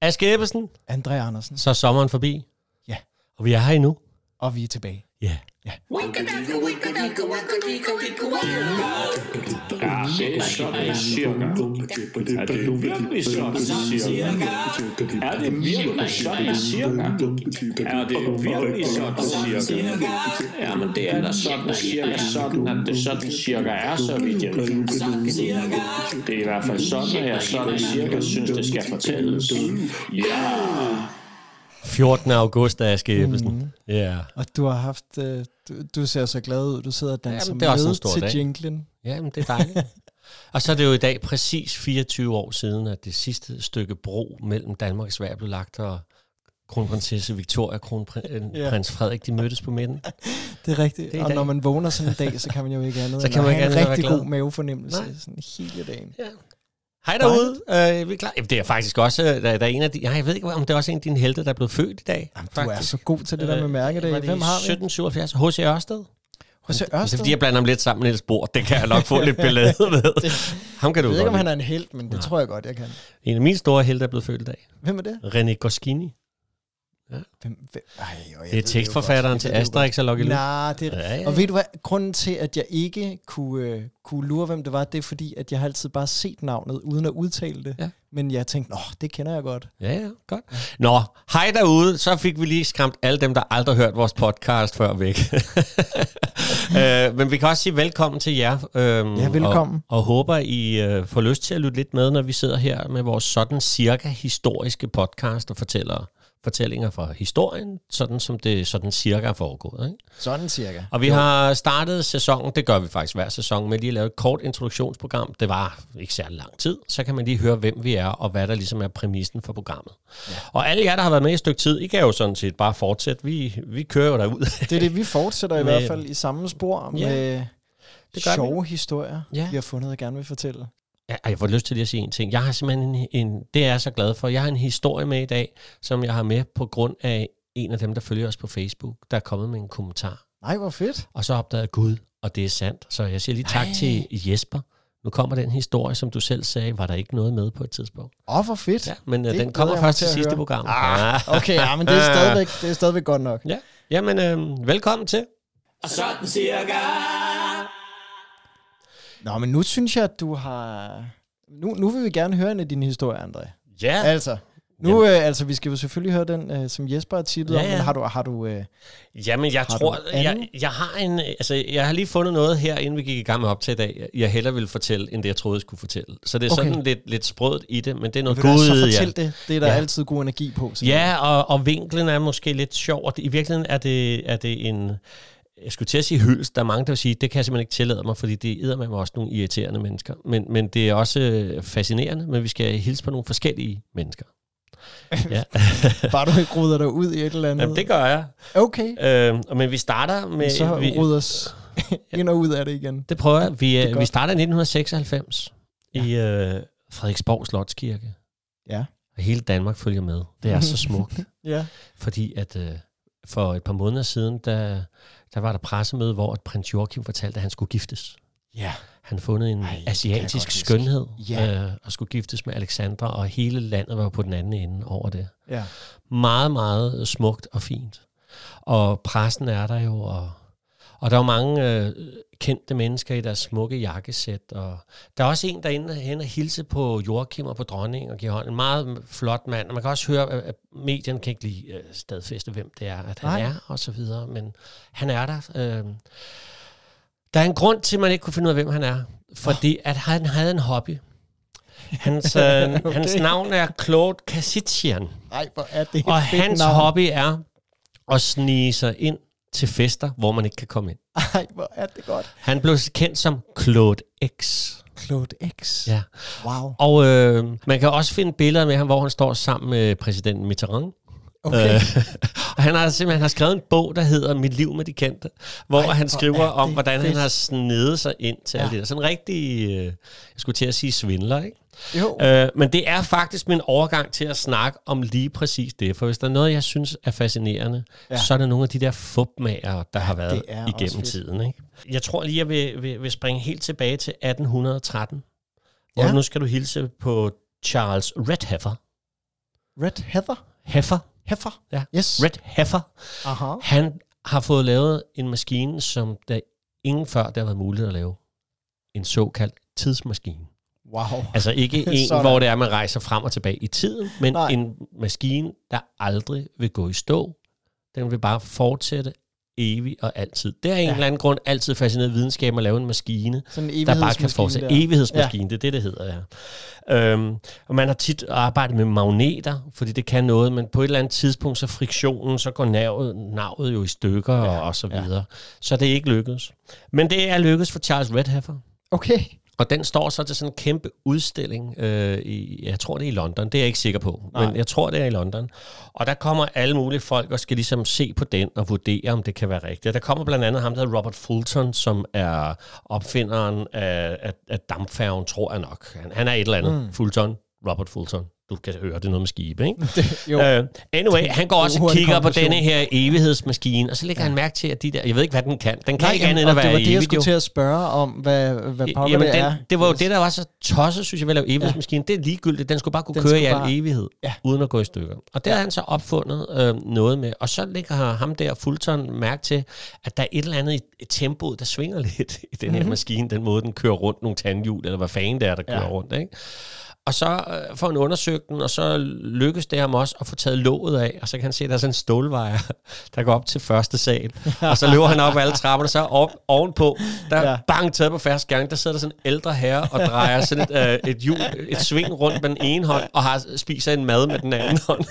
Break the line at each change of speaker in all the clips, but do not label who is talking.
Aske Ebbesen,
André Andersen,
så er sommeren forbi,
ja,
og vi er her endnu.
og vi er tilbage.
Ja. Yeah.
Det er sådan cirka. Er det nu virkelig sådan cirka? Er det virkelig sådan cirka? Er det virkelig sådan cirka? Ja, men det er da sådan cirka sådan, at det sådan cirka er, så vidt jeg ved. Det er i hvert fald sådan, at jeg sådan cirka synes, det skal fortælles. Ja!
14. august er Aske Ebbesen.
Mhm.
Mm. Ja.
Og du har haft, øh, du, du ser så glad ud, du sidder og danser
Jamen, det er også en
med
stor
til
dag.
jinglen.
Ja, men det er dejligt. og så er det jo i dag præcis 24 år siden, at det sidste stykke bro mellem Danmark og Sverige blev lagt, og kronprinsesse Victoria og kronprins
Ja.
yeah. Frederik, de mødtes på midten.
Det er rigtigt,
Det
det
er
er og
dagen.
når man vågner sådan en dag, så kan man jo ikke andet
Så
end
kan
at
man ikke
have
andet end
en
at
rigtig
være glad.
god mavefornemmelse
Nej.
sådan hele dagen.
Hej derude, øh, vi er klar. Jamen, det er faktisk også, øh, der, der er en af de, ja, jeg ved ikke, om det er også en af dine helte, der er blevet født i dag.
Jamen, du er så god til det der
Øh,
med mærkedage. Hvem har vi?
1777, H.C. Ørsted.
Hos
Det er
Ørsted.
fordi, jeg blander ham lidt sammen med Niels Bohr. Det kan jeg nok få lidt ballade med. Ham kan du
Jeg ved ikke, om
godt
han
lide.
er en held, men det tror jeg godt, jeg kan.
En af mine store helte er blevet født i dag.
Hvem er det?
René Goscinny.
Hvem, hvem? Ej, jo, jeg ved
Det er
jo
tekstforfatteren
godt.
til
Jeg ved det jo
Asterix og Lucky
godt.
Luke.
Nej, det er...
Ja, ja.
Og ved du hvad, grunden til, at jeg ikke kunne, øh, kunne lure, hvem det var, det er fordi, at jeg har altid bare set navnet, uden at udtale det.
Ja.
Men jeg tænkte, nå, det kender jeg godt.
Ja, ja, godt. Nå, hej derude. Så fik vi lige skræmt alle dem, der aldrig har hørt vores podcast før væk. øh, men vi kan også sige velkommen til jer. Øh,
Ja, velkommen.
Og, og håber, I øh, får lyst til at lytte lidt med, når vi sidder her med vores sådan cirka historiske podcast og fortæller fortællinger fra historien, sådan som det sådan cirka er foregået. Ikke?
Sådan cirka.
Og vi jo. har startet sæsonen, det gør vi faktisk hver sæson, med lige at lave et kort introduktionsprogram. Det var ikke særlig lang tid. Så kan man lige høre, hvem vi er, og hvad der ligesom er præmissen for programmet. Ja. Og alle jer, der har været med i et stykke tid, I kan jo sådan set bare fortsætte. Vi, vi kører jo derud.
Det er det, vi fortsætter i
Med-
hvert fald i samme spor med
Ja, det gør vi.
sjove historier,
Ja.
vi har fundet og gerne vil fortælle.
Ja, ej, jeg får lyst til lige at sige en ting. Jeg har simpelthen en, en, det er jeg så glad for. Jeg har en historie med i dag, som jeg har med på grund af en af dem, der følger os på Facebook, der er kommet med en kommentar.
Nej, hvor fedt.
Og så opdagede jeg Gud, og det er sandt. Så jeg siger lige tak
Nej.
til Jesper. Nu kommer den historie, som du selv sagde, var der ikke noget med på et tidspunkt.
Åh, hvor fedt.
Ja, men øh,
Det
den
glæder
kommer
jeg mig
først
til
til
at
sidste
høre.
program.
Ah, okay, ja, men det er stadigvæk, det er stadigvæk godt nok.
Ja, jamen øh, velkommen til.
Sådan cirka.
Nå, men nu synes jeg, at du har... Nu, nu vil vi gerne høre en af dine historier, André.
Ja,
Altså, nu, øh, altså, vi skal jo selvfølgelig høre den, øh, som Jesper har tippet
Ja,
ja, ja. om,
ja.
men har du... Har du øh,
Jamen, jeg
Har du
tror, jeg,
andet?
jeg, har en, altså, jeg har lige fundet noget her, inden vi gik i gang med op til i dag, jeg hellere ville fortælle, end det jeg troede, jeg skulle fortælle. Så det er okay.
Okay.
sådan lidt, lidt sprødt i det, men det er noget
vil du altså også så
god,
fortæl
ja.
det? Det er der
Ja.
ja. altid god energi på. Så.
Ja, og, og vinklen er måske lidt sjov, og det, i virkeligheden er det, er det en, jeg skulle til at sige hyldest, der er mange, der vil sige, det kan jeg simpelthen ikke tillade mig, fordi det æder med mig også nogle irriterende mennesker. Men, men det er også øh, fascinerende, men vi skal hilse på nogle forskellige mennesker. ja,
Bare du ikke ruder dig ud i et eller andet.
Jamen, det gør jeg.
Okay,
Øh, og- men vi starter med...
så
vi,
ruder os ind og ud af det igen.
Det prøver jeg. Vi, øh,
godt.
vi starter i 1996 ja. i øh, Frederiksborg Slotskirke.
Ja.
Og hele Danmark følger med. Det er så smukt.
Ja.
fordi at øh, for et par måneder siden, der, der var der pressemøde, hvor at prins Joachim fortalte, at han skulle giftes.
Ja.
Han havde fundet en
Ej, det kan
Ej,
jeg
asiatisk
godt huske.
skønhed
Ja.
øh, og skulle giftes med Alexandra, og hele landet var på den anden ende over det
ja.
meget, meget smukt og fint. Og pressen er der jo, og, og der er jo mange øh, kendte mennesker i deres smukke jakkesæt. Og der er også en, der er inde hen og hilse på Joachim og på dronningen og giver hånd. En meget flot mand, og man kan også høre, at at medierne kan ikke lige øh, stadfæste, hvem det er, at han
Nej.
er, og så videre. Men han er der. Øh. Der er en grund til, at man ikke kunne finde ud af, hvem han er. Fordi at han havde en hobby. Hans, øh, okay. hans navn er Claude Kassitsian.
Ej, hvor er det et
Og
fedt
hans
navn.
hobby er at snige sig ind til fester, hvor man ikke kan komme ind.
Ej, hvor er det godt.
Han blev kendt som Claude X.
Claude X.
Ja.
Wow.
Og øh, man kan også finde billeder med ham, hvor han står sammen med præsident Mitterrand.
Okay.
Øh, og han har simpelthen han har skrevet en bog, der hedder Mit liv med de kendte, hvor
Ej,
Ej, han
hvor
skriver
er
om,
det
hvordan han
fedt.
har snedet sig ind til ja.
Ja.
alt det der. Sådan en rigtig, øh, jeg skulle til at sige svindler, ikke?
Jo.
Øh, men det er faktisk min overgang til at snakke om lige præcis det. For hvis der er noget, jeg synes er fascinerende, ja.
Ja.
så er det nogle af de der fupmager, der har været
er også
igennem
fedt.
tiden. Ikke? Jeg tror lige, jeg vil, vil, vil springe helt tilbage til 1813. Og
Ja.
nu skal du hilse på Charles Redheffer.
Red Heather?
Heffer,
Heffer?
Ja.
Yes.
Red Heffer,
Aha.
han har fået lavet en maskine, som der ingen før der har været muligt at lave. En såkaldt tidsmaskine.
Wow.
Altså ikke en,
Sådan.
hvor det er, man rejser frem og tilbage i tiden, men
Nej.
Nej. en maskine, der aldrig vil gå i stå. Den vil bare fortsætte evigt og altid. Det er en
Ja.
ja. eller anden grund altid fascineret videnskab at lave en maskine,
Sådan en
der bare kan e-
evighedsmaskine
fortsætte.
der.
Evighedsmaskine, ja. det er det, det hedder, ja. Øhm, og man har tit arbejdet med magneter, fordi det kan noget, men på et eller andet tidspunkt, så friktionen, så går navet, navet jo i stykker ja. og, og så
ja.
videre. Så det er ikke lykkedes. Men det er lykkedes for Charles Redheffer.
Okay.
Og den står så til sådan en kæmpe udstilling, øh, i, jeg tror det er i London, det er jeg ikke sikker på, Nej. men jeg tror det er i London. Og der kommer alle mulige folk og skal ligesom se på den og vurdere, om det kan være rigtigt. Og Der kommer blandt andet ham, der hedder Robert Fulton, som er opfinderen af, af, af dampfærgen, tror jeg nok. Han, han er et eller andet. Mm. Fulton, Robert Fulton. Du kan høre, det er noget med skibe, ikke?
Jo.
Øh, anyway, han går også og
hurtig
kigger på
konklusion.
denne her evighedsmaskine, og så lægger ja. han mærke til, at de der... Jeg ved ikke, hvad den kan. Den kan Nej, ikke andet end
og
at være
det var det, jeg
evig, jo.
skulle til at spørge om, hvad, hvad pokker
Jamen,
det
den,
er.
det var jo det, der var så tosset, synes jeg, ved at lave evighedsmaskinen. Ja. Det er ligegyldigt. Den skulle bare kunne
Den
den køre i
skulle
al
bare-
bare... evighed,
Ja.
ja. uden at gå i stykker. Og der ja. har han så opfundet øh, noget med. Og så lægger ham der, Fulton, mærke til, at der er et eller andet i, i tempoet, der svinger lidt i den her mm-hmm. maskine. Den måde, den kører rundt nogle tandhjul, eller hvad fanden det er, der kører
Mhm. Ja.
ja. rundt. Ikke? Og så øh, får han undersøgt den, og så lykkes det ham også at få taget låget af, og så kan han se, at der er sådan en stålvejer, der går op til første sal. Og så løber han op ad alle trapperne, og så op, ovenpå, der er
Ja.
ja. bang taget på første gang, der sidder der sådan en ældre herre og drejer sådan et, øh, et, hjul, et sving rundt med den ene hånd, og har, spiser en mad med den anden hånd.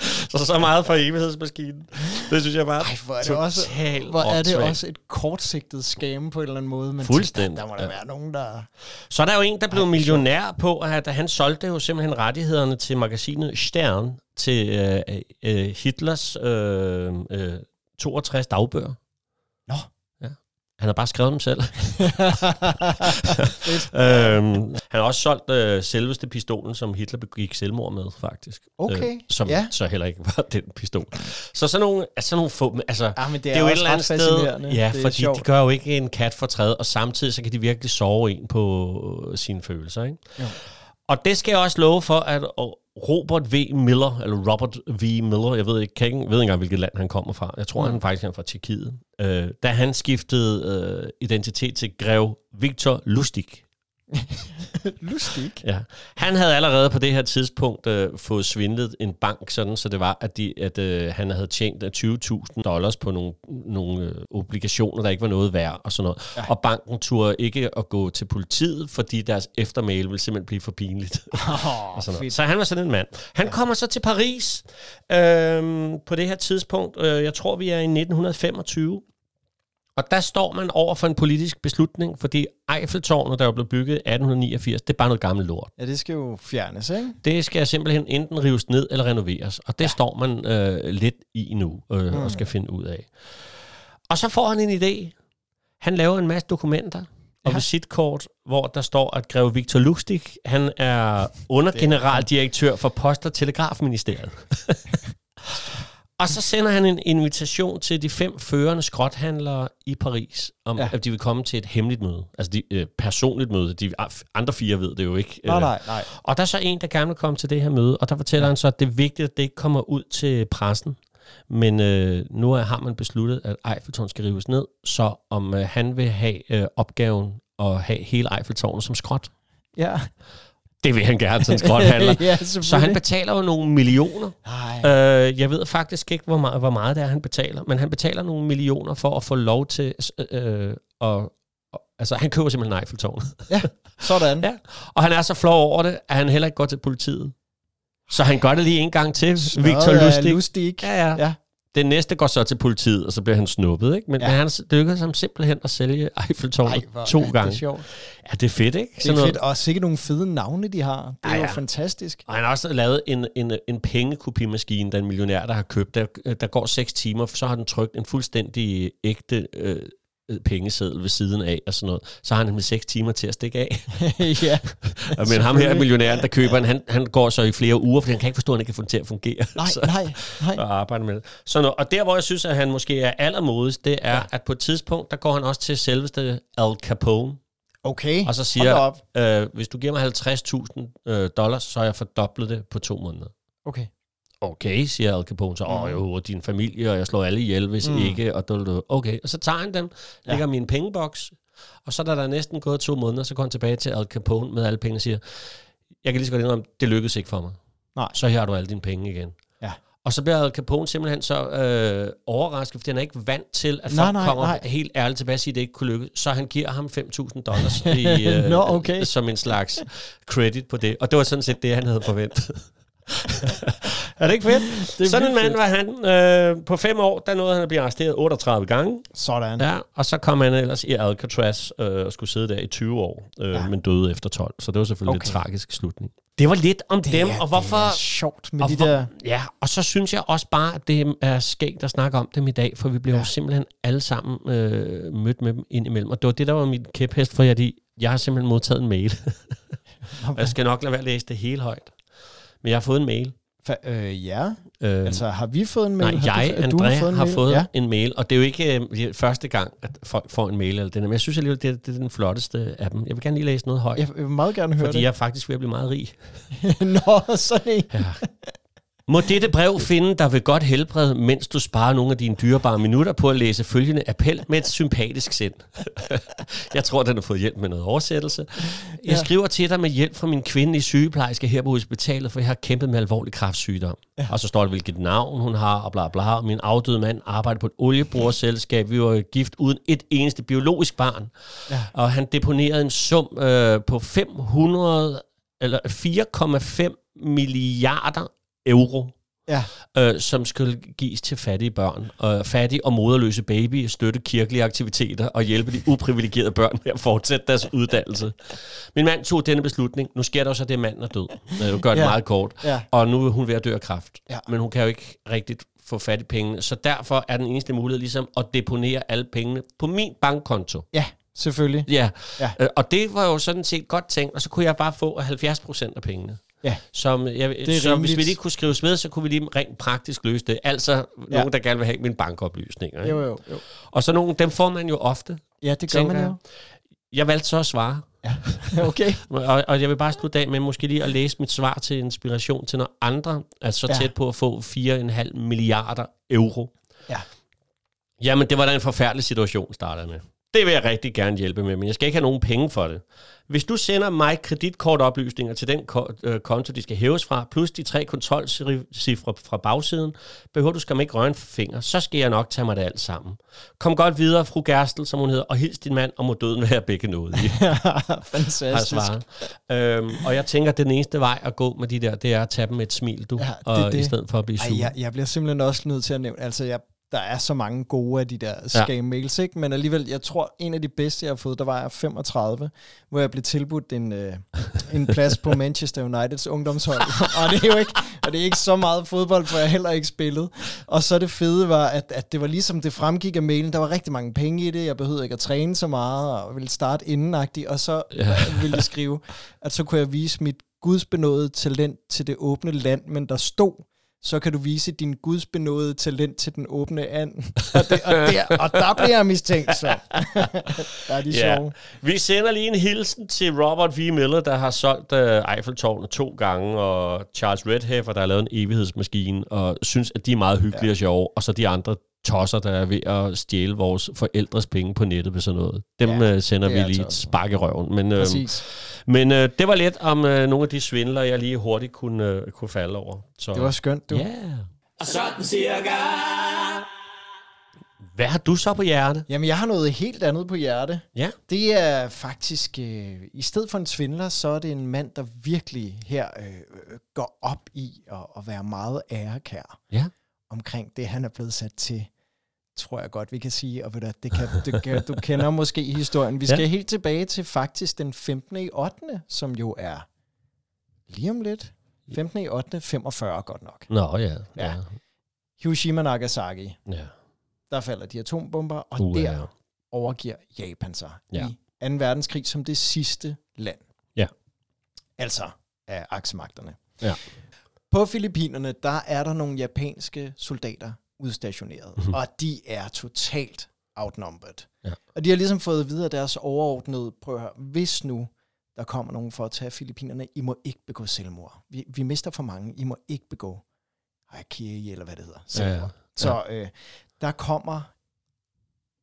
så så meget for evighedsmaskinen. Det synes jeg bare
Ej, hvor er det, også,
totalt
hvor er det
åndssvagt.
også et kortsigtet skame på en eller anden måde. Men
Fuldstændig.
Der, der må der være nogen, der...
Så er der jo en, der blev millionær på, at han solgte jo simpelthen rettighederne til magasinet Stern til øh, øh, Hitlers øh, øh, 62 dagbøger.
Nå.
Ja. Han har bare skrevet dem selv. øhm, han har også solgt øh, selveste pistolen, som Hitler begik selvmord med, faktisk. Øh,
Okay,
som
ja.
så heller ikke var den pistol. Så sådan nogle, altså, sådan nogle få... Altså,
Ja, Ah, men det er,
det er jo et
også
eller andet
ret
sted.
fascinerende.
Ja,
det er
fordi
sjovt.
de gør jo ikke en kat for træet, og samtidig så kan de virkelig sove en på øh, sine følelser. Ikke?
Jo.
Og det skal jeg også love for, at og Robert V. Miller, eller Robert V. Miller, jeg ved ikke, kan ikke, ved ikke engang, hvilket land han kommer fra. Jeg tror,
Mm.
han faktisk er fra Tjekkiet. Øh, da han skiftede øh, identitet til grev Victor Lustig.
Lustig.
Ja. Han havde allerede på det her tidspunkt øh, fået svindlet en bank, sådan, så det var, at, de, at øh, han havde tjent øh, 20.000 dollars på nogle, nogle øh, obligationer, der ikke var noget værd og sådan noget. Ja. Og banken turde ikke at gå til politiet, fordi deres eftermæl ville simpelthen blive for pinligt.
Oh,
og sådan noget.
fedt.
Så han var sådan en mand. Han kommer så til Paris øhm, på det her tidspunkt. Øh, jeg tror, vi er i 1925. Og der står man over for en politisk beslutning, fordi Eiffeltårnet, der jo blev bygget i 1889, det er bare noget gammelt lort.
Ja, det skal jo fjernes, ikke?
Det skal simpelthen enten rives ned eller renoveres, og det ja. står man øh, lidt i nu øh, mm. og skal finde ud af. Og så får han en idé. Han laver en masse dokumenter og
Ja.
ja. visitkort, hvor der står, at greve Victor Lustig, han er undergeneraldirektør for Post- og Telegrafministeriet. og så sender han en invitation til de fem førende skrothandlere i Paris, om
Ja.
ja. at de vil komme til et hemmeligt møde. Altså de, øh, personligt møde. De andre fire ved det jo ikke.
Nej,
øh,
nej, nej.
og der er så en, der gerne vil komme til det her møde, og der fortæller han så, at det er vigtigt, at det ikke kommer ud til pressen. Men øh, nu er- har man besluttet, at Eiffeltårnet skal rives ned, så om øh, han vil have øh, opgaven at have hele Eiffeltårnet som skrot.
Ja.
Det vil han gerne som skrothandler.
ja,
Så han betaler jo nogle millioner.
Nej.
Øh, jeg ved faktisk ikke, hvor meget, hvor meget det er, han betaler, men han betaler nogle millioner for at få lov til øh, at... Altså, han køber simpelthen Eiffeltårnet.
Sådan.
Ja. Og han er så flov over det, at han heller ikke går til politiet. Så han gør det lige en gang til, Victor
Nå,
Lustig.
Ja, Lustig.
Ja, ja.
Ja.
Den næste går så til politiet, og så bliver han snuppet, ikke? Men,
Ja.
ja. men han lykkedes ham simpelthen at sælge Eiffeltårnet
Ej, hvor
to
er
gange.
Det er sjovt.
ja, det er fedt, ikke?
Det er fedt, og sikkert nogle fede navne, de har. Det er
Ja,
jo
ja.
fantastisk.
Og han har også lavet en, en, en pengekopimaskine, der er en millionær, der har købt. Der, der går seks timer, så har den trykt en fuldstændig ægte øh, pengeseddel ved siden af og sådan noget. Så har han nemlig seks timer til at stikke af.
ja.
Ja, Men ham her, millionæren, der køber den, han, han går så i flere uger, fordi han kan ikke forstå, at han ikke kan få den til at fungere.
Nej,
så,
nej, nej.
og arbejde med det. Så når, og der, hvor jeg synes, at han måske er allermodigst, det er, ja. at på et tidspunkt, der går han også til selveste Al Capone.
Okay,
Og så
hold da
siger
op.
jeg, øh, hvis du giver mig 50.000 øh, dollars, så har jeg fordoblet det på to måneder.
Okay.
Okay, siger Al Capone så. Åh
Mhm.
jo, og din familie, og jeg slår alle ihjel, hvis
Mm.
mm. ikke. Og dul, dul. Okay, og så tager han dem,
Ja.
lægger ja. min pengeboks, og så da der er næsten gået to måneder, så går han tilbage til Al Capone med alle pengene og siger, jeg kan lige så godt indrømme, det lykkedes ikke for mig.
Nej.
Så her har du alle dine penge igen.
Ja.
Og så bliver Al Capone simpelthen så øh, overrasket, fordi han er ikke vant til, at
Nej,
folk
nej,
kommer
nej.
helt ærligt tilbage og siger, at det ikke kunne lykkes. Så han giver ham 5.000 dollars i, øh,
Nå, okay.
som en slags credit på det. Og det var sådan set det, han havde forventet. Er det ikke fedt?
Det er
Det Sådan en
vildt
mand var han. Øh, på fem år, der nåede han at blive arresteret 38 gange.
Sådan.
Ja, og så kom han ellers i Alcatraz øh, og skulle sidde der i 20 år, øh,
Ja.
ja. men døde efter 12. Så det var selvfølgelig okay.
Okay.
en tragisk slutning. Det var lidt om det dem,
Ja,
og hvorfor...
Det er sjovt med
og
de
hvor-
der...
Ja, og så synes jeg også bare, at det er skægt at snakke om dem i dag, for vi bliver ja.
Ja.
jo simpelthen alle sammen øh, mødt med dem indimellem. Og det var det, der var min kæphest, for jeg, jeg har simpelthen modtaget en mail. Og jeg skal nok lade være at læse det hele højt. Men jeg har fået en mail.
Fa- øh, ja,
Øh,
altså har vi fået en mail?
Nej,
har
jeg,
du,
André,
har
har fået, har
mail?
fået
Ja.
ja. en mail, og det er jo ikke øh, det er første gang, at folk får en mail eller den, her, men jeg synes alligevel, det er, det er den flotteste af dem. Jeg vil gerne lige læse noget højt, ja,
Jeg vil meget gerne høre
fordi jeg er faktisk ved at blive meget rig.
det. Nå, sådan en.
Må dette brev finde dig ved godt helbred, mens du sparer nogle af dine dyrebare minutter på at læse følgende appel med et sympatisk sind. jeg tror, den har fået hjælp med noget oversættelse. Jeg
Ja.
skriver til dig med hjælp fra min kvindelige sygeplejerske her på hospitalet, for jeg har kæmpet med alvorlig kræftsygdom. Ja. Og så står der, hvilket navn hun har, og bla bla. Og min afdøde mand arbejder på et oliebrugerselskab. Vi var gift uden et eneste biologisk barn.
Ja.
Og han deponerede en sum øh, på 500 eller 4,5 milliarder euro,
Ja.
øh, som skulle gives til fattige børn, øh, fattige og moderløse babyer, støtte kirkelige aktiviteter og hjælpe de uprivilegerede børn med at fortsætte deres uddannelse. Min mand tog denne beslutning. Nu sker der jo så det, at manden er død. Jeg gør det
Ja.
ja. meget kort.
Ja.
Og nu er hun ved at dø af kræft.
Ja.
Men hun kan jo ikke rigtigt få fat i pengene. Så derfor er den eneste mulighed ligesom at deponere alle pengene på min bankkonto.
ja, selvfølgelig.
Ja,
Ja.
ja. Øh, og det var jo sådan set godt tænkt, og så kunne jeg bare få 70 procent af pengene.
Ja.
Som, jeg,
er
så
rimeligt.
hvis vi lige kunne skrives med, så kunne vi lige rent praktisk løse det. Altså
Ja.
ja. nogen, der gerne vil have mine bankoplysninger.
Jo,
Ikke?
jo, jo.
Og så nogen, dem får man jo ofte.
Ja, det gør
Tænker
man jo.
Jeg valgte så at svare,
Okay.
og, og jeg vil bare slutte af med måske lige at læse mit svar til inspiration til når andre er så
Ja.
ja. tæt på at få 4,5 milliarder euro.
Ja.
Jamen, det var da en forfærdelig situation, starter jeg med. Det vil jeg rigtig gerne hjælpe med, men jeg skal ikke have nogen penge for det. Hvis du sender mig kreditkortoplysninger til den ko- øh, konto, de skal hæves fra, plus de tre kontrolcifre fra bagsiden, behøver du skam ikke røre en finger, så skal jeg nok tage mig det alt sammen. Kom godt videre, fru Gerstel, som hun hedder, og hils din mand, og må døden være begge noget i har jeg
Fantastisk.
svaret. Øhm, og jeg tænker, at den eneste vej at gå med de der, det er at tage dem med et smil, du,
Ja,
ja,
det er
og
det.
i stedet for at blive sur.
Ej, jeg, jeg bliver simpelthen også nødt til at nævne, altså jeg, der er så mange gode af de der scam-mails, ikke? men alligevel, jeg tror, en af de bedste, jeg har fået, der var jeg 35, hvor jeg blev tilbudt en, øh, en plads på Manchester Uniteds ungdomshold, og det er jo ikke, og det er ikke så meget fodbold, for jeg heller ikke spillet. Og så det fede var, at, at det var ligesom det fremgik af mailen, der var rigtig mange penge i det, jeg behøvede ikke at træne så meget, og ville starte indenagtigt, og så ja. ville de skrive, at så kunne jeg vise mit gudsbenåede talent til det åbne land, men der stod, så kan du vise din gudsbenåede talent til den åbne and. Og, det, og, der, og der bliver jeg mistænkt, så. der er de
Ja.
sjove.
Vi sender lige en hilsen til Robert V. Miller, der har solgt øh, Eiffeltårnet to gange, og Charles Redheffer, der har lavet en evighedsmaskine, og synes, at de er meget hyggelige ja. og sjove, og så de andre tosser, der er ved at stjæle vores forældres penge på nettet ved sådan noget. Dem
Ja,
ja, øh, sender
det
vi
er
lige et
tosset.
spark i røven. Men, øh,
Præcis.
men øh, det var lidt om øh, nogle af de svindler, jeg lige hurtigt kunne, øh, kunne falde over. Så,
Det var skønt, du.
Ja.
Og sådan cirka.
Hvad har du så på hjerte?
Jamen, jeg har noget helt andet på hjerte.
Ja.
Det er faktisk, øh, i stedet for en svindler, så er det en mand, der virkelig her øh, øh, går op i at, at være meget ærekær
Ja.
omkring det, han er blevet sat til, tror jeg godt, vi kan sige. Og ved du, hvad, det kan, du, kan, du kender måske historien. Vi
Ja.
skal helt tilbage til faktisk den 15. i 8., som jo er lige om lidt. 15. i 8., 45 godt nok.
Nå, ja.
Ja. Hiroshima Nagasaki,
ja.
der falder de atombomber, og
Uh,
der
ja.
overgiver Japan sig ja.
Ja.
i 2. verdenskrig som det sidste land.
Ja.
Altså af aksemagterne.
Ja.
På Filippinerne, der er der nogle japanske soldater udstationeret, og de er totalt outnumbered.
Mhm. Ja.
Og de har ligesom fået videre deres overordnede, prøv at høre, hvis nu der kommer nogen for at tage Filippinerne, I må ikke begå selvmord. Vi, vi mister for mange, I må ikke begå Harakiri, eller hvad det hedder, selvmord.
ja.
Så øh, der kommer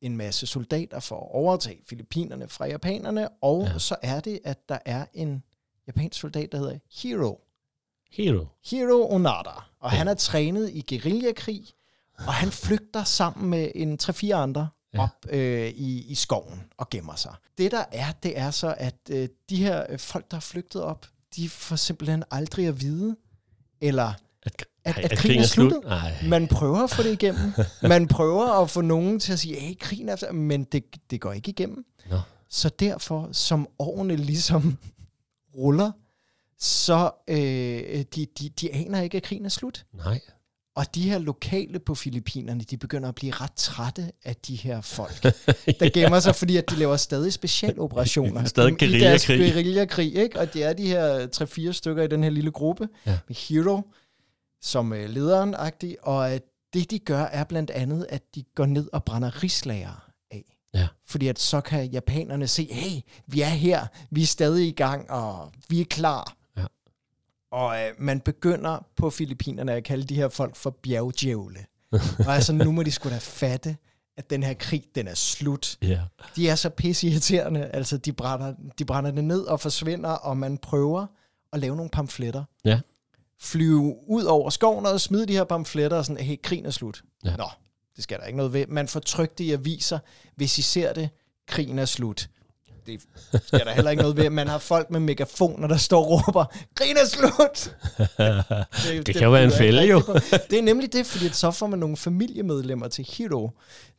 en masse soldater for at overtage Filippinerne fra japanerne, og
Ja.
ja. så er det, at der er en japansk soldat, der hedder Hiro.
Hero.
Hiro Onada, og han er trænet i guerillakrig, og han flygter sammen med en 3-4 andre
Ja.
ja. op øh, i, i skoven og gemmer sig. Det der er, det er så, at øh, de her øh, folk, der er flygtet op, de får simpelthen aldrig at vide, eller
At,
at,
ej,
at, at krigen er sluttet.
slut? Nej.
Man prøver at få det igennem. Man prøver at få nogen til at sige, hey, krigen er efter, men det, det går ikke igennem.
Nå.
Så derfor, som årene ligesom ruller, så øh, de, de, de aner ikke, at krigen er slut.
Nej.
Og de her lokale på Filippinerne, de begynder at blive ret trætte af de her folk, der gemmer sig, fordi at de laver stadig specialoperationer.
Stadig
I deres
guerillakrig.
guerillakrig, ikke? Og det er de her 3-4 stykker i den her lille gruppe,
Ja.
ja. med Hero som øh, lederen agtig og øh, det de gør er blandt andet, at de går ned og brænder rislager af.
Ja.
Fordi at så kan japanerne se, hey, vi er her, vi er stadig i gang, og vi er klar.
Ja.
Og øh, man begynder på Filippinerne at kalde de her folk for bjergdjævle. og altså, nu må de skulle da fatte, at den her krig, den er slut.
Ja.
De er så pisseirriterende. Altså, de brænder, de brænder det ned og forsvinder, og man prøver at lave nogle pamfletter.
Ja.
Flyve ud over skoven og smide de her pamfletter og sådan, hey, krigen er slut.
Ja.
Nå, det skal der ikke noget ved. Man får trygt det i aviser. Hvis I ser det, krigen er slut. Det skal der heller ikke noget ved. Man har folk med megafoner, der står og råber, krigen er slut! Det,
Det kan jo være en
byder
fælde,
ikke
jo.
rigtig på. Det er nemlig det, fordi at så får man nogle familiemedlemmer til Hero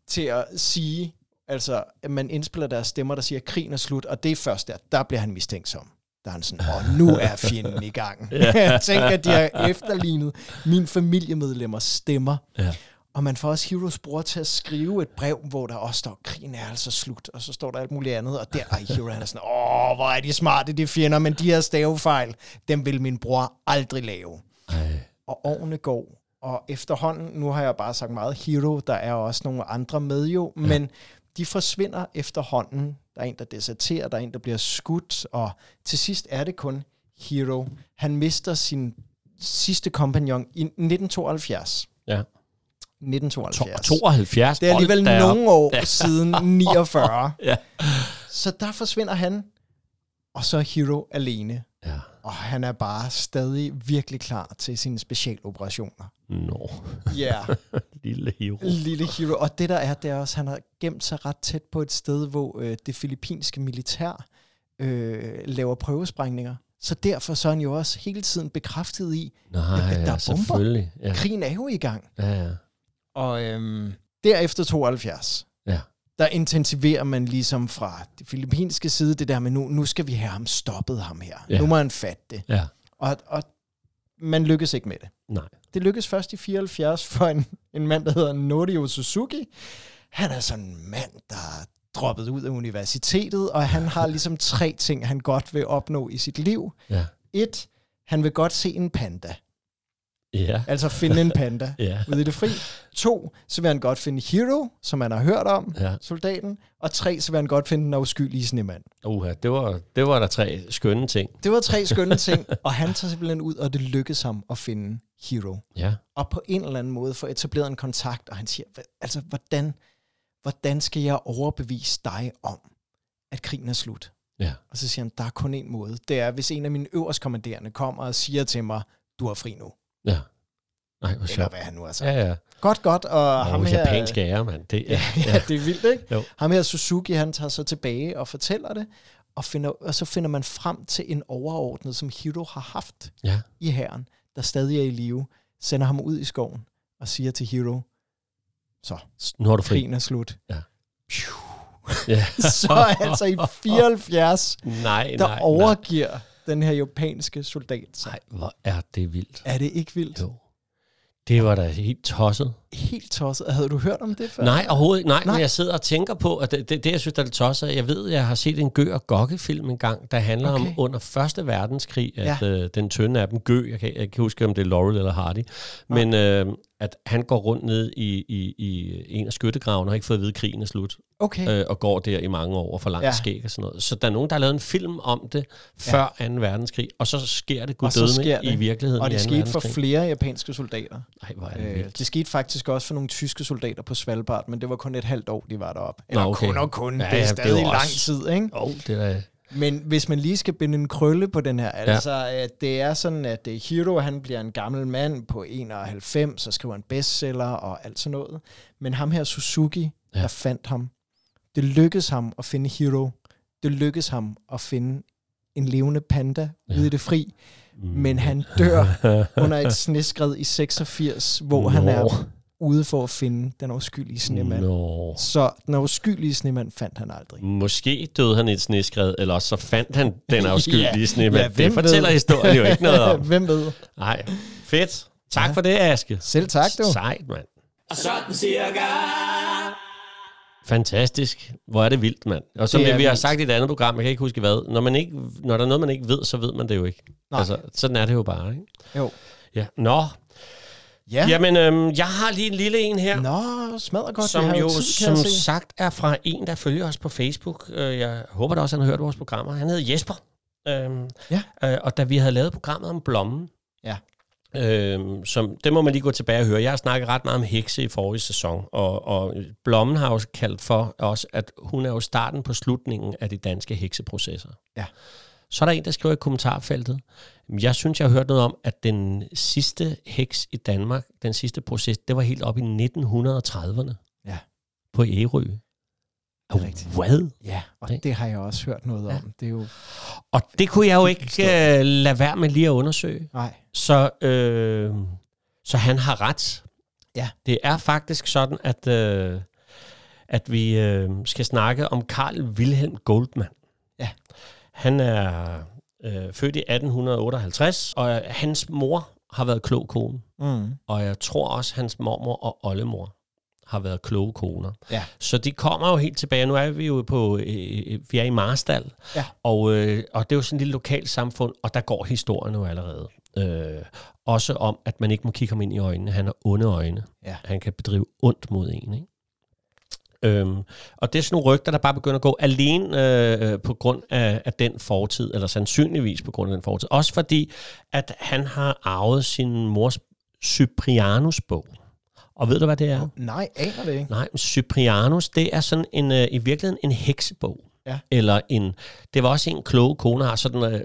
til at sige, altså at man indspiller deres stemmer, der siger, at krigen er slut, og det er først der, der bliver han mistænkt som. Der er han sådan, og nu er fjenden i gang. Jeg tænker, at de har efterlignet mine familiemedlemmers stemmer.
Ja.
Og man får også Heroes bror til at skrive et brev, hvor der også står, krigen er altså slut, og så står der alt muligt andet, og der er Hero, han er sådan, åh, hvor er de smarte, de fjender, men de her stavefejl, dem vil min bror aldrig lave
Ej.
og årene går, og efterhånden, nu har jeg bare sagt meget hero, der er også nogle andre med jo, ja. men de forsvinder efterhånden. Der er en, der deserterer, der er en, der bliver skudt, og til sidst er det kun hero. Han mister sin sidste kompagnon i 1972.
Ja.
1972.
72.
Det er alligevel
Hold da op.
nogle år siden 49.
Ja.
Så der forsvinder han, og så er Hero alene.
Ja.
Og han er bare stadig virkelig klar til sine specialoperationer.
Nå,
Ja, yeah.
lille hero.
lille hero. Og det der er, det er også, at han har gemt sig ret tæt på et sted, hvor øh, det filippinske militær øh, laver prøvesprængninger. Så derfor så er han jo også hele tiden bekræftet i,
Nej,
Jamen, der
ja,
er bomber.
selvfølgelig. Ja.
at krigen er jo i gang.
Ja, ja.
Og øhm, derefter 72,
Ja.
der intensiverer man ligesom fra det filippinske side det der med, nu, nu skal vi have ham stoppet ham her.
Ja.
Ja. Nu må han fatte det.
ja.
Og, og man lykkes ikke med det.
Nej.
Det lykkes først i 74 for en, en mand, der hedder Norio Suzuki. Han er sådan en mand, der er droppet ud af universitetet, og han har ligesom tre ting, han godt vil opnå i sit liv.
Ja.
Et, han vil godt se en panda.
Ja.
Altså finde en panda
Ja.
ude i det fri. To, så vil han godt finde Hero, som han har hørt om,
Ja.
soldaten. Og tre, så vil han godt finde den afskyelige snemand.
Uha, det var, det var der tre skønne ting.
Det var tre skønne ting, og han tager simpelthen ud, og det lykkes ham at finde Hero.
Ja.
og på en eller anden måde får etableret en kontakt, og han siger, "Hva- altså, hvordan, hvordan skal jeg overbevise dig om, at krigen er slut?
Ja.
Og så siger han, der er kun en måde. Det er, hvis en af mine øverstkommanderende kommer og siger til mig, du er fri nu.
Ja. Nej, hvor
Eller
sjovt.
hvad han nu har sagt.
Ja,
Ja.
ja.
Godt, godt. Og
Og
ham
oh,
her,
japansk ære, mand. Det er,
ja, det er vildt, ikke?
Jo.
Ham her Suzuki, han tager så tilbage og fortæller det, og, finder, og så finder man frem til en overordnet, som Hiro har haft
Ja.
i hæren, der stadig er i live, sender ham ud i skoven og siger til Hiro, så,
nu har du fri.
krigen er slut.
Ja.
Phew.
Ja.
Så altså i 74,
Nej,
der
nej, nej.
overgiver den her japanske soldat sig.
Nej, hvor er det vildt.
Er det ikke vildt?
Jo. Det var da helt tosset.
Helt tosset. Havde du hørt om det før?
Nej, overhovedet ikke. Nej, nej,
Nej.
men jeg sidder og tænker på, at det, det, det jeg synes, der er lidt tosset, jeg ved, jeg har set en Gø og Gokke-film en gang, der handler okay. om
Okay.
under 1. verdenskrig, at ja. øh, den tynde af dem, Gø, jeg kan, jeg kan ikke huske, om det er Laurel eller Hardy, men øh, at han går rundt ned i, i, i en af skyttegravene og har ikke fået at vide, at krigen er slut.
Okay.
Øh, og går der i mange år for langt
Ja.
ja. skæg og sådan noget. Så der er nogen, der har lavet en film om det før 2. verdenskrig, og så sker det
Og så
gudødende
sker det.
i virkeligheden
og
i
det
2.
skete for
verdenskrig.
flere japanske soldater.
Nej, hvor er det
Øh,
vildt.
det skete faktisk også for nogle tyske soldater på Svalbard, men det var kun et halvt år, de var deroppe. Eller
okay.
kun og kun,
Ja,
ja, det
ja,
er
det er
stadig
jo
lang
også-
tid, ikke?
Jo, det er da...
Men hvis man lige skal binde en krølle på den her, altså at det er sådan, at øh, Hiro han bliver en gammel mand på 91, og skriver en bestseller og alt sådan noget. Men ham her Suzuki,
Ja.
ja. der fandt ham, det lykkedes ham at finde Hiro. Det lykkedes ham at finde en levende panda ja. ude i det fri, men han dør under et sneskred i 86, hvor han
Nå.
er ude for at finde den afskyelige snemand.
Nå.
Så den afskyelige snemand fandt han aldrig.
Måske døde han i et sneskred, eller også så fandt han den afskyelige ja, snemand.
ja,
Ja,
hvem
det fortæller
ved?
historien jo ikke noget om.
Hvem ved?
Nej, fedt. Tak ja. for det, Aske.
Selv tak, du.
Sejt, mand.
Og sådan cirka.
Fantastisk. Hvor er det vildt, mand. Og som
Det
det,
er
vi har
vildt.
sagt i et andet program, jeg kan ikke huske hvad, når, man ikke, når der er noget, man ikke ved, så ved man det jo ikke.
Nej.
Altså, sådan er det jo bare, ikke?
Jo.
Ja. Nå,
Ja.
ja. jamen, øhm, jeg har lige en lille en her.
Nå, smadrer godt. vi
som
har
jo,
tid, kan
som
jeg se.
sagt, er fra en, der følger os på Facebook. Øh, Jeg håber da også, han har hørt vores programmer. Han hed Jesper. Øhm,
Ja.
øh, Og da vi havde lavet programmet om blommen,
Ja.
øhm, som, det må man lige gå tilbage og høre. Jeg har snakket ret meget om hekse i forrige sæson, og, og blommen har jo kaldt for os, at hun er jo starten på slutningen af de danske hekseprocesser.
Ja.
Så er der en, der skriver i kommentarfeltet, jeg synes, jeg har hørt noget om, at den sidste heks i Danmark, den sidste proces, det var helt op i 1930'erne
Ja.
på Ærø. Og
rigtigt.
Hvad?
Ja, og
Ikke?
det har jeg også hørt noget
Ja.
om. Det er jo...
Og det kunne jeg jo ikke
historie.
øh, lade være med lige at undersøge.
Nej.
Så, øh, så han har ret.
Ja.
Det er faktisk sådan, at, øh, at vi øh, skal snakke om Karl Wilhelm Goldman.
Ja.
Han er øh, født i 1858, og øh, hans mor har været klog kone.
Mm.
Og jeg tror også, hans mormor og oldemor har været kloge koner.
Ja.
Så de kommer jo helt tilbage. Nu er vi jo på, øh, øh, vi er i Marstal,
Ja.
og, øh, og det er jo sådan et lille lokalt samfund, og der går historien jo allerede. Øh, også om, at man ikke må kigge ham ind i øjnene. Han har onde øjne.
Ja.
Han kan bedrive ondt mod en, ikke? Øhm, og det er sådan nogle rygter, der bare begynder at gå alene øh, øh, på grund af, af den fortid, eller sandsynligvis på grund af den fortid. Også fordi, at han har arvet sin mors Cyprianus bog. Og ved du, hvad det er?
Nej, aner det ikke.
Nej, men Cyprianus, det er sådan en, øh, i virkeligheden en heksebog.
Ja.
Eller en, det var også en kloge kone har sådan, øh,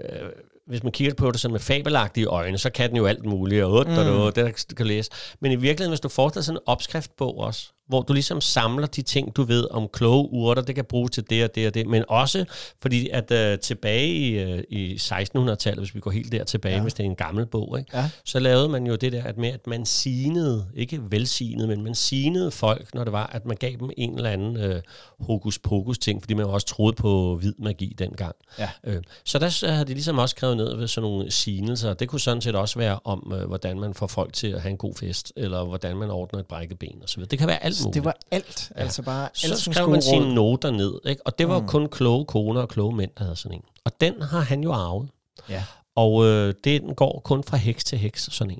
hvis man kigger på det sådan med fabelagtige øjne, så kan den jo alt muligt, og mm. og det der kan du læse. Men i virkeligheden, hvis du forestiller dig sådan en opskriftbog også, hvor du ligesom samler de ting, du ved om kloge urter, det kan bruges til det og det og det, men også fordi, at øh, tilbage i, øh, i 1600-tallet, hvis vi går helt der tilbage, ja. hvis det er en gammel bog, ikke?
Ja.
så lavede man jo det der at med, at man sinede, ikke velsignede, men man sinede folk, når det var, at man gav dem en eller anden øh, hokus-pokus-ting, fordi man jo også troede på hvid magi dengang.
Ja.
Øh, så der s- havde de ligesom også skrevet ned ved sådan nogle sinelser. Det kunne sådan set også være om, øh, hvordan man får folk til at have en god fest, eller hvordan man ordner et brækket ben osv. Det kan være alt muligt
Det var alt. Ja. Altså bare alt
så
som
skrev man
skoleråd.
sine noter ned, ikke? og det var mm. kun kloge koner og kloge mænd, der havde sådan en. Og den har han jo arvet.
Ja.
Og øh, det, den går kun fra heks til heks, sådan en,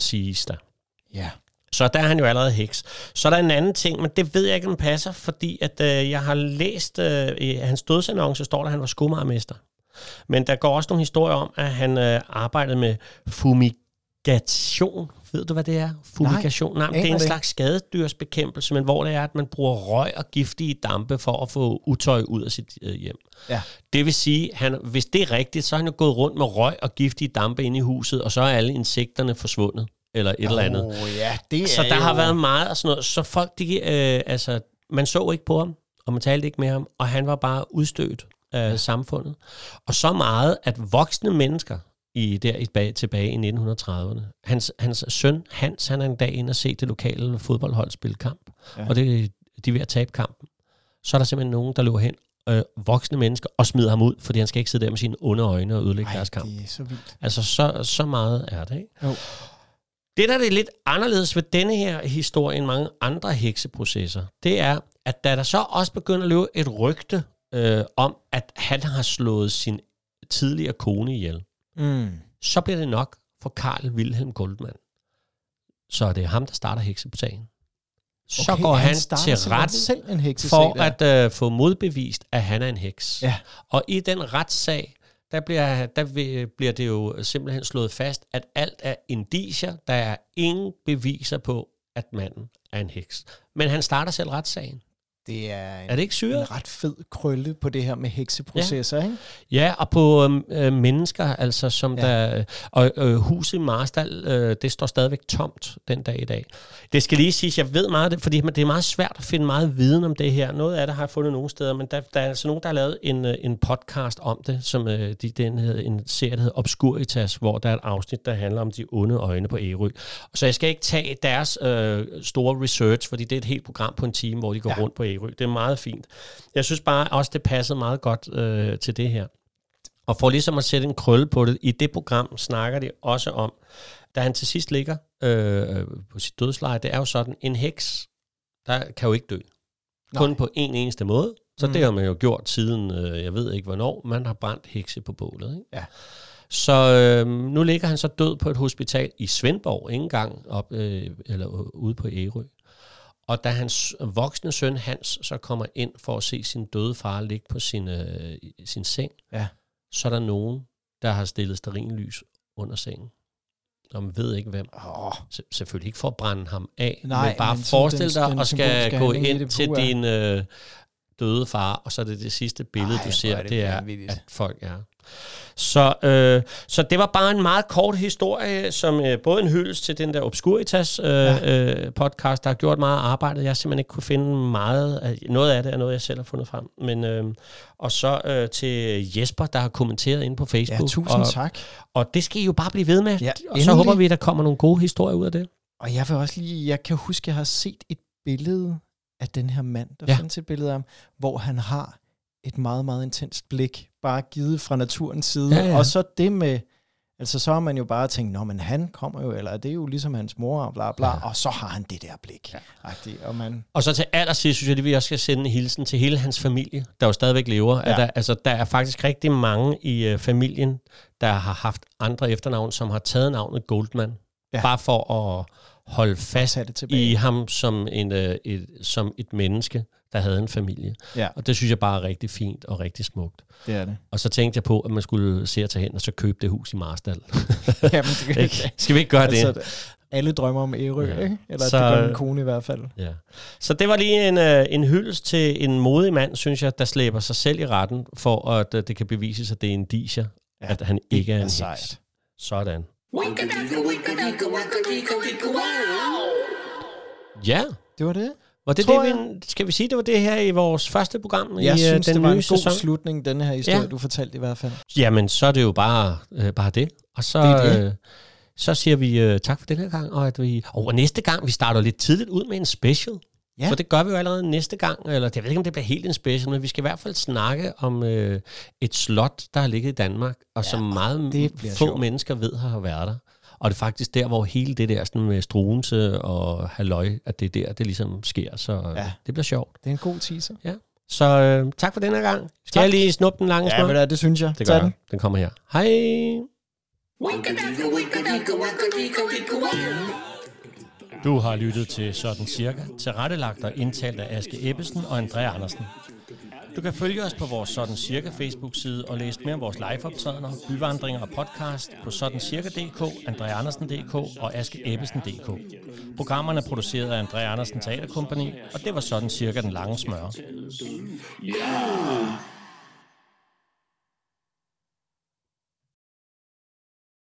siges der.
Ja.
Så der er han jo allerede heks. Så er der en anden ting, men det ved jeg ikke, om passer, fordi at, øh, jeg har læst øh, i hans dødsannonce, står der, at han var skomagermester. Men der går også nogle historier om, at han øh, arbejdede med fumigation. Ved du, hvad det er? Fumigation. Nej, Nej men det er
aner
en
det
slags skadedyrsbekæmpelse, men hvor det er, at man bruger røg og giftige dampe for at få utøj ud af sit øh, hjem.
Ja.
Det vil sige, han, hvis det er rigtigt, så har han jo gået rundt med røg og giftige dampe inde i huset, og så er alle insekterne forsvundet, eller et eller andet.
Åh, ja, det
Så
er
der
jo...
har været meget og sådan noget. Så folk, de, øh, altså, man så ikke på ham, og man talte ikke med ham, og han var bare udstødt af samfundet. Og så meget, at voksne mennesker i, der i, bag, tilbage i 1930'erne, hans, hans søn Hans, han er en dag inde og se det lokale fodboldhold spille kamp, ja.
Ja.
og det, de er ved at tabe kampen. Så er der simpelthen nogen, der løber hen, øh, voksne mennesker, og smider ham ud, fordi han skal ikke sidde der med sine onde øjne og ødelægge
Ej,
deres kamp.
det er så vildt.
Altså, så, så meget er det, ikke?
Jo.
Det, der er det lidt anderledes ved denne her historie end mange andre hekseprocesser, det er, at da der så også begynder at løbe et rygte øh, om, at han har slået sin tidligere kone ihjel,
Mm.
så bliver det nok for Karl Wilhelm Goldman. Så det er ham, der starter heksebutagen. Så
Okay,
går han,
starter
til
simpelthen
ret
selv en hekse
for at øh, få modbevist, at han er en heks.
Ja.
Og i den retssag, der bliver, der vil- bliver det jo simpelthen slået fast, at alt er indicier. Der er ingen beviser på, at manden er en heks. Men han starter selv retssagen.
det er en,
Er det ikke syret?
en ret fed krølle på det her med hekseprocesser, ja. ikke?
Ja, og på øhm, øh, mennesker, altså som ja.
Ja.
der... Og øh, huset i Marstal, øh, det står stadigvæk tomt den dag i dag. Det skal lige siges, jeg ved meget af det, fordi men det er meget svært at finde meget viden om det her. Noget af det har jeg fundet nogle steder, men der, der er altså nogen, der har lavet en, øh, en podcast om det, som øh, de, den hed, en serie, der hedder Obscuritas, hvor der er et afsnit, der handler om de onde øjne på Ærø. Så jeg skal ikke tage deres øh, store research, fordi det er et helt program på en time, hvor de går ja. rundt på Ærø. Det er meget fint. Jeg synes bare også, det passede meget godt øh, til det her. Og for ligesom at sætte en krølle på det, i det program snakker de også om, da han til sidst ligger øh, på sit dødsleje, det er jo sådan, en heks, der kan jo ikke dø. Nej. Kun på en eneste måde. Så mm. det har man jo gjort siden, øh, jeg ved ikke hvornår, man har brændt hekse på bålet. Ikke?
Ja.
Så øh, nu ligger han så død på et hospital i Svendborg, ikke engang op, øh, eller ude på Ærø. Og da hans voksne søn Hans så kommer ind for at se sin døde far ligge på sin, øh, i sin seng,
Ja.
så er der nogen, der har stillet sterinlys under sengen. Og man ved ikke hvem.
Åh,
Se- Selvfølgelig ikke for at brænde ham af,
Nej,
men bare
men sådan
forestil
den-
dig
den
og skal
symbolske
gå
handling i
ind
det
til
pure.
din øh, døde far, og så er det det sidste billede,
Ej,
du
hvor
ser,
er
det,
det
det er,
vanvittigt.
at folk er. Så, øh, så det var bare en meget kort historie, som øh, både en hyldest til den der Obscuritas øh, ja. øh, podcast, der har gjort meget arbejde. Jeg har simpelthen ikke kunne finde meget. Af, noget af det er noget, jeg selv har fundet frem. Men, øh, og så øh, til Jesper, der har kommenteret inde på
ja,
Facebook.
tusind
og,
tak.
Og det skal I jo bare blive ved med.
Ja,
og så
endelig.
håber vi, at der kommer nogle gode historier ud af det.
Og jeg vil også lige, jeg kan huske, jeg har set et billede af den her mand, der
Ja.
ja. findes et billede af ham, hvor han har et meget, meget intenst blik, bare givet fra naturens side.
Ja, ja.
Og så det med, altså så har man jo bare tænkt, nå, men han kommer jo, eller det er jo ligesom hans mor, og bla bla,
Ja.
ja. og så har han det der blik. Ja. Og man,
Og så til allersidst synes jeg, at vi også skal sende en hilsen til hele hans familie, der jo stadigvæk lever. Ja.
Ja.
der, altså, der er faktisk rigtig mange i øh, familien, der har haft andre efternavn, som har taget navnet Goldman. Ja.
Ja.
Bare for at holde fast
tage det tilbage.
i ham som, en, øh, et, som et menneske, der havde en familie.
Ja.
Og det synes jeg bare er rigtig fint og rigtig smukt.
Det er det.
Og så tænkte jeg på, at man skulle se at tage hen og så købe det hus i Marstal.
Jamen, det,
Ikke? skal vi ikke gøre det?
Altså, alle drømmer om Ærø,
Ja.
ja. ikke? Eller
Så-
så, det gør min kone i hvert fald.
Ja. Så det var lige en, øh, en hyldest til en modig mand, synes jeg, der slæber sig selv i retten, for at øh, det kan bevises, at det er en diger, ja, at han ikke er en heks.
sejt.
Sådan.
Winkadaka, winkadaka, winkadika, dika, wow.
Ja,
Det var det.
var det,
Tror
det vi, skal vi sige, det var det her i vores første program
Jeg
i øh,
synes,
den
det var
nye
en god
sæson?
slutning, den her historie,
Ja.
ja. du fortalte i hvert fald.
Jamen, så er det jo bare, øh, bare det. Og så,
Det er det.
Øh, så siger vi øh, tak for den her gang, og at vi og og næste gang, vi starter lidt tidligt ud med en special. Ja.
Ja.
For det gør vi jo allerede næste gang, eller jeg ved ikke, om det bliver helt en special, men vi skal i hvert fald snakke om øh, et slot, der har ligget i Danmark, og ja, som meget
det bliver
få
sjovt.
mennesker ved har været der. Og det er faktisk der, hvor hele det der sådan med struense og halløj, at det er der, det ligesom sker. Så ja.
Ja.
det bliver sjovt.
Det er en god teaser.
Så øh, tak for den her gang. Skal
Tak.
jeg lige snuppe den lange
Ja,
smøg?
men da, det synes jeg.
Det gør
Tag
jeg.
den.
Den kommer her. Hej!
Winkadaka, winkadika, winkadika, dika, wow.
Du har lyttet til Sådan Cirka, tilrettelagt og indtalt af Aske Ebbesen og Andrea Andersen. Du kan følge os på vores Sådan Cirka Facebook-side og læse mere om vores liveoptrædener, byvandringer og podcast på sådancirka.dk, andreaandersen.dk og askeebbesen.dk. Programmerne er produceret af Andrea Andersen Teaterkompagni, og det var Sådan Cirka den lange smør.
Yeah.